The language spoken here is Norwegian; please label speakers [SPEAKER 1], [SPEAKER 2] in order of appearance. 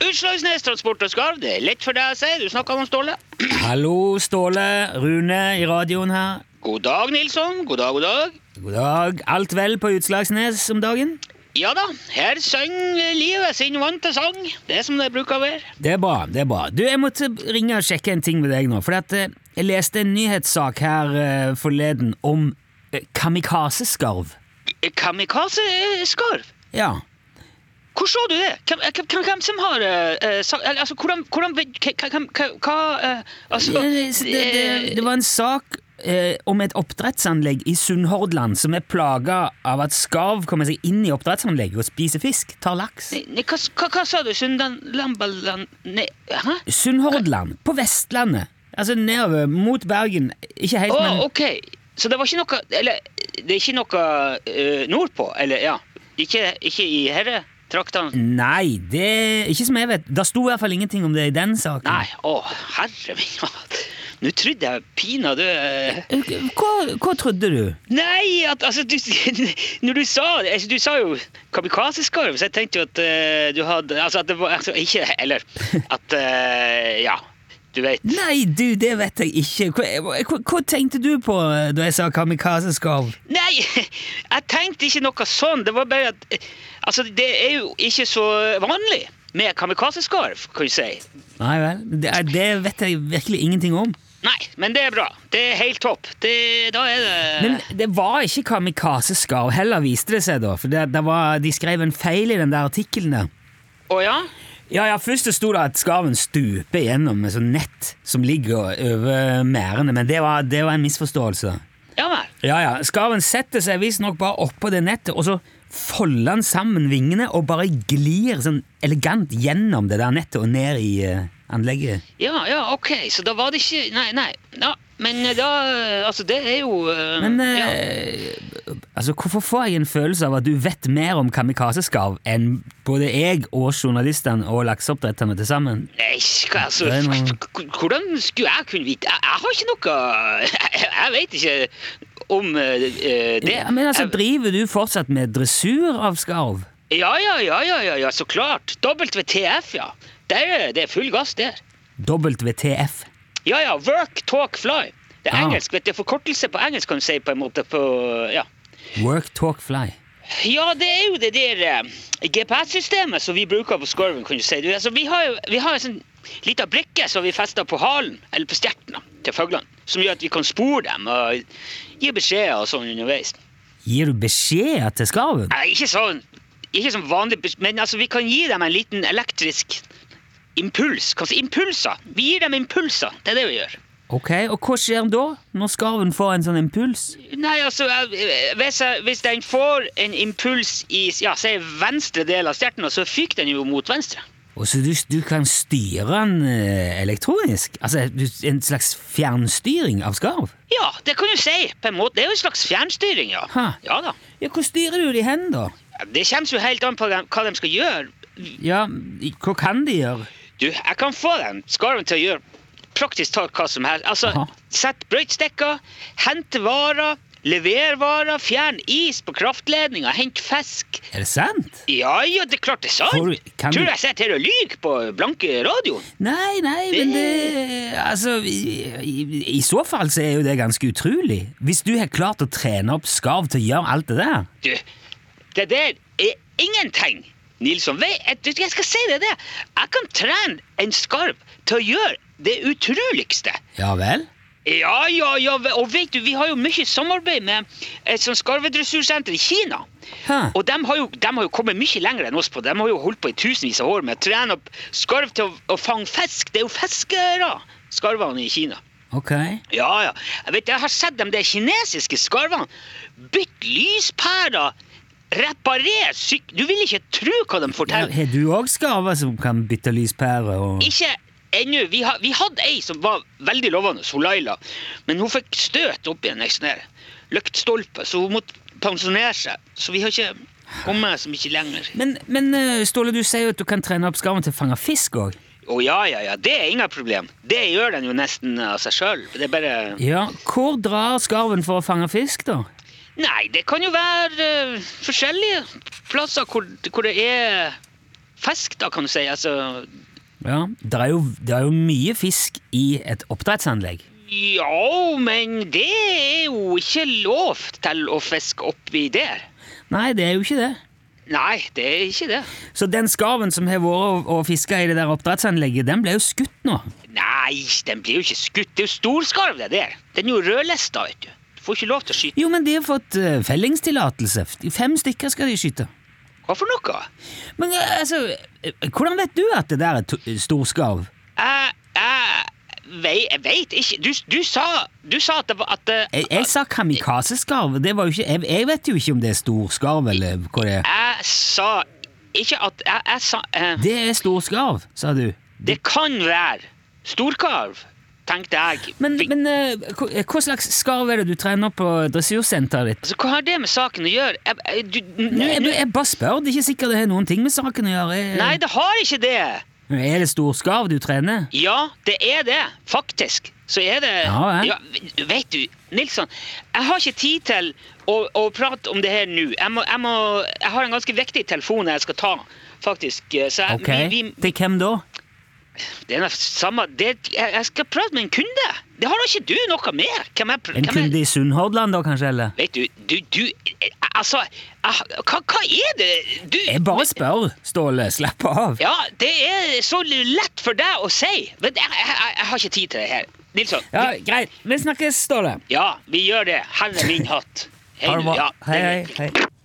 [SPEAKER 1] Utslagsnes Transport og Skarv, det er lett for deg å si. Du snakker om Ståle.
[SPEAKER 2] Hallo, Ståle. Rune i radioen her.
[SPEAKER 1] God dag, Nilsson. God dag, god dag.
[SPEAKER 2] God dag. Alt vel på Utslagsnes om dagen?
[SPEAKER 1] Ja da, her synger livet sin vante sang. Det er som det bruker å være.
[SPEAKER 2] Det er bra. det er bra. Du, Jeg måtte ringe og sjekke en ting med deg nå. For at eh, jeg leste en nyhetssak her eh, forleden om eh, kamikazeskarv.
[SPEAKER 1] Kamikaze-skarv?
[SPEAKER 2] Ja.
[SPEAKER 1] Hvor så du det? Hvem, eh, hvem, hvem, hvem som har uh, sagt eller, Altså, hvordan, hvordan vet- Hva, hva- hva, hva eh, Altså
[SPEAKER 2] Eh, så Det, det, det var en sak eh, om et oppdrettsanlegg i Sunnhordland som er plaga av at skarv kommer seg inn i oppdrettsanlegget og spiser fisk. Tar laks.
[SPEAKER 1] Nei, nei, hva, hva, hva sa du? Sundan Lambaland Nei, hæ?
[SPEAKER 2] Sunnhordland, på Vestlandet. Altså nedover mot Bergen. Ikke helt,
[SPEAKER 1] Å,
[SPEAKER 2] men
[SPEAKER 1] ok. Så det var ikke noe Eller, det er ikke noe eh, nordpå? Eller, ja. Ikke, ikke i herre
[SPEAKER 2] Mm.
[SPEAKER 1] traktene?
[SPEAKER 2] Nei, det ikke som jeg vet. Det sto i hvert fall ingenting om det i den saken.
[SPEAKER 1] Nei. Å, herre min. Nå trodde jeg pinadø eh,
[SPEAKER 2] Hva, hva trodde du?
[SPEAKER 1] Nei, at, altså du, Når du sa det altså, Du sa jo kamikazeskarv, så jeg tenkte jo at eh, du hadde Altså at det var altså, Ikke Eller at eh, Ja, du vet.
[SPEAKER 2] Nei, du, det vet jeg ikke. Hva, hva, hva tenkte du på eh, da jeg sa kamikazeskarv?
[SPEAKER 1] Nei, jeg tenkte ikke noe sånn. Det var bare at eh, Altså, det er jo ikke så vanlig med kamikazeskarv, kan du si.
[SPEAKER 2] Nei vel, det, eh, det vet jeg virkelig ingenting om.
[SPEAKER 1] Nei, men det er bra. Det er helt topp. Det, da er det
[SPEAKER 2] Men det var ikke kamikazeskarv heller, viste det seg da. For det, det var, de skrev en feil i den der artikkelen der.
[SPEAKER 1] Å ja?
[SPEAKER 2] Ja, ja, Først så sto det at skarven stuper gjennom et sånt nett som ligger over merdene, men det var, det var en misforståelse.
[SPEAKER 1] Ja vel.
[SPEAKER 2] Ja, ja, Skarven setter seg visstnok bare oppå det nettet, og så folder han sammen vingene og bare glir sånn elegant gjennom det der nettet og ned i eh, anlegget.
[SPEAKER 1] Ja, ja, OK. Så da var det ikke Nei, nei. Ja, men da Altså, det er jo eh,
[SPEAKER 2] Men
[SPEAKER 1] ja.
[SPEAKER 2] eh, altså, hvorfor får jeg en følelse av at du vet mer om kamikazeskarv enn både jeg og journalistene og lakseoppdretterne til sammen?
[SPEAKER 1] Nei, skal, altså,
[SPEAKER 2] Det er noe-
[SPEAKER 1] k- k- hvordan skulle jeg kunne vite? Jeg, jeg har ikke noe Jeg, jeg vet ikke om eh, eh, det.
[SPEAKER 2] Ja, men altså,
[SPEAKER 1] jeg,
[SPEAKER 2] Driver du fortsatt med dressur av skarv?
[SPEAKER 1] ja, ja, ja, ja, ja, ja, så klart. WTF, ja. Det er, det er full gass der.
[SPEAKER 2] WTF.
[SPEAKER 1] Ja, ja. Work, talk, fly. Det er
[SPEAKER 2] Ah.
[SPEAKER 1] engelsk, vet du. Forkortelse på engelsk, kan du si, på en måte. På, ja.
[SPEAKER 2] Work, talk, fly.
[SPEAKER 1] ja, det er jo det der eh, GPS-systemet som vi bruker på skorven, kan du si. Du, altså, vi har jo vi har en sånn lita brikke som vi fester på halen, eller på stjerten, da, til fuglene. Som gjør at vi kan spore dem og gi beskjeder og sånn underveis.
[SPEAKER 2] Gir du beskjeder til skarven?
[SPEAKER 1] Nei, ikke sånn. Ikke som vanlig, bes- men altså, vi kan gi dem en liten elektrisk impuls. Kanskje impulser. Vi gir dem impulser. Det er det vi gjør.
[SPEAKER 2] Ok, Og hva skjer da, når skarven får en sånn impuls?
[SPEAKER 1] Nei, altså, jeg- hvis, jeg, hvis den får en impuls i ja, si venstre del av stjerten, så fyker den jo mot venstre.
[SPEAKER 2] Og så du, du kan styre den eh, elektronisk? Altså du- en slags fjernstyring av skarv?
[SPEAKER 1] Ja, det kan du si. på en måte. Det er jo en slags fjernstyring, ja.
[SPEAKER 2] Hæ.
[SPEAKER 1] Ja da.
[SPEAKER 2] Ja, Hvor styrer du de hen, da?
[SPEAKER 1] Det kommer jo helt an på dem, hva de skal gjøre.
[SPEAKER 2] Ja, i- Hva kan de gjøre?
[SPEAKER 1] Du, jeg kan få den skarven til å gjøre praktisk talt hva som helst. Altså,
[SPEAKER 2] Aha.
[SPEAKER 1] sett brøytestikker, hente varer, levere varer, fjern is på kraftledninger, hent fisk.
[SPEAKER 2] Er det sant?
[SPEAKER 1] Ja, ja, det er klart det er
[SPEAKER 2] Får
[SPEAKER 1] sant.
[SPEAKER 2] du- kan
[SPEAKER 1] Tror
[SPEAKER 2] du-
[SPEAKER 1] du jeg sitter her og lyver på blanke radioen?
[SPEAKER 2] Nei, nei, men det Altså, i, i, i så fall så er jo det ganske utrolig. Hvis du har klart å trene opp skarv til å gjøre alt det der.
[SPEAKER 1] Du, det der er ingenting, Nilsson. Vet, jeg- du, jeg skal si det, det. Jeg kan trene en skarv til å gjøre det utroligste.
[SPEAKER 2] Ja vel?
[SPEAKER 1] Ja, ja, ja, ve- og vet du, vi har jo mye samarbeid med et sånt skarvedressursenter i Kina.
[SPEAKER 2] Hæ.
[SPEAKER 1] Og de har, jo, dem har jo kommet mye lenger enn oss på. De har jo holdt på i tusenvis av år med å trene opp skarv til å, å fange fisk. Det er jo fiskere, skarvene i Kina.
[SPEAKER 2] Ok.
[SPEAKER 1] Ja, ja. Jeg vet, jeg har sett dem, de kinesiske skarvene. Bytt lyspærer. Reparer syk... Du vil ikke tro hva de
[SPEAKER 2] Ja,
[SPEAKER 1] forteller.
[SPEAKER 2] Har du òg skarver som kan bytte lyspære og
[SPEAKER 1] Ikke ennå. Vi, har- vi hadde ei som var veldig lovende, hun Laila. Men hun fikk støt oppi en sånn her lyktstolpe, så hun måtte pensjonere seg. Så vi har ikke kommet så mye lenger.
[SPEAKER 2] Men, men eh, Ståle, du sier jo at du kan trene opp skarven til å fange fisk òg.
[SPEAKER 1] Å ja, ja, ja. Det er ingen problem. Det gjør den jo nesten av seg sjøl. Det er bare
[SPEAKER 2] Ja, hvor drar skarven for å fange fisk, da?
[SPEAKER 1] Nei, det kan jo være eh, forskjellige plasser hvor, hvor det er fisk, da, kan du si. Altså,
[SPEAKER 2] Ja, det er, jo, det er jo mye fisk i et oppdrettsanlegg.
[SPEAKER 1] ja, men det er jo ikke lov til å fiske oppi der.
[SPEAKER 2] Nei, det er jo ikke det.
[SPEAKER 1] Nei, det er ikke det.
[SPEAKER 2] Så den skarven som har vært og- og fiska i det der oppdrettsanlegget, den ble jo skutt nå.
[SPEAKER 1] Nei, den blir jo ikke skutt. Det er jo storskarv, det der. Den er jo rødlista, vet du. Du får ikke lov til å skyte.
[SPEAKER 2] Jo, men de har fått eh, fellingstillatelse. De Fem stykker skal de skyte.
[SPEAKER 1] Hva for noe?
[SPEAKER 2] Men eh, altså, eh, hvordan vet du at det der er to- eh, storskarv?
[SPEAKER 1] Jeg, jeg, vei, jeg vet ikke. Du, du, sa, du sa at det var at eh, det-
[SPEAKER 2] Jeg, jeg sa kamikazeskarv. Det var jo ikke, jeg, jeg vet jo ikke om det er storskarv eller hva det er.
[SPEAKER 1] Jeg sa ikke at Jeg, jeg sa eh,
[SPEAKER 2] Det er storskarv, sa du.
[SPEAKER 1] Det kan være storkarv, tenkte jeg.
[SPEAKER 2] Men,
[SPEAKER 1] Vi-
[SPEAKER 2] men eh, hva hva slags skarv er det du trener på dressursenteret ditt?
[SPEAKER 1] altså, hva har det med saken å gjøre? Jeg, jeg, du, n-
[SPEAKER 2] Nå, Jeg,
[SPEAKER 1] n-
[SPEAKER 2] jeg bare spør. Det er ikke sikkert det har noen ting med saken å gjøre. Jeg-
[SPEAKER 1] Nei, det har ikke det.
[SPEAKER 2] Er det storskarv du trener?
[SPEAKER 1] Ja, det er det. Faktisk. Så er det
[SPEAKER 2] Ja, vel.
[SPEAKER 1] v- Vet du, Nilsson, jeg har ikke tid til å, å prate om det her nå. Jeg, må, jeg, må, jeg har en ganske viktig telefon jeg skal ta, faktisk. Så jeg,
[SPEAKER 2] Ok.
[SPEAKER 1] vi, vi,
[SPEAKER 2] Til hvem da?
[SPEAKER 1] det er noe samme det, jeg, jeg skal prate med en kunde. Det har da ikke du noe med? Hvem jeg, pr-
[SPEAKER 2] En
[SPEAKER 1] hvem jeg-
[SPEAKER 2] kunde i Sunnhordland, da, kanskje? eller?
[SPEAKER 1] Vet du, du, du eh, Altså, ah, hva, hva er det du
[SPEAKER 2] Jeg bare spør, Ståle. Slapp av.
[SPEAKER 1] Ja, det er så lett for deg å si. Men jeg, jeg, jeg, jeg har ikke tid til det her. Nilsson.
[SPEAKER 2] Ja, Greit. Vi snakkes, Ståle.
[SPEAKER 1] Ja, vi gjør det. Herre min hatt.
[SPEAKER 2] Ha
[SPEAKER 1] nå.
[SPEAKER 2] det bra.
[SPEAKER 1] Ja, det
[SPEAKER 2] Hei,
[SPEAKER 1] er
[SPEAKER 2] hei.
[SPEAKER 1] riktig.
[SPEAKER 2] hei.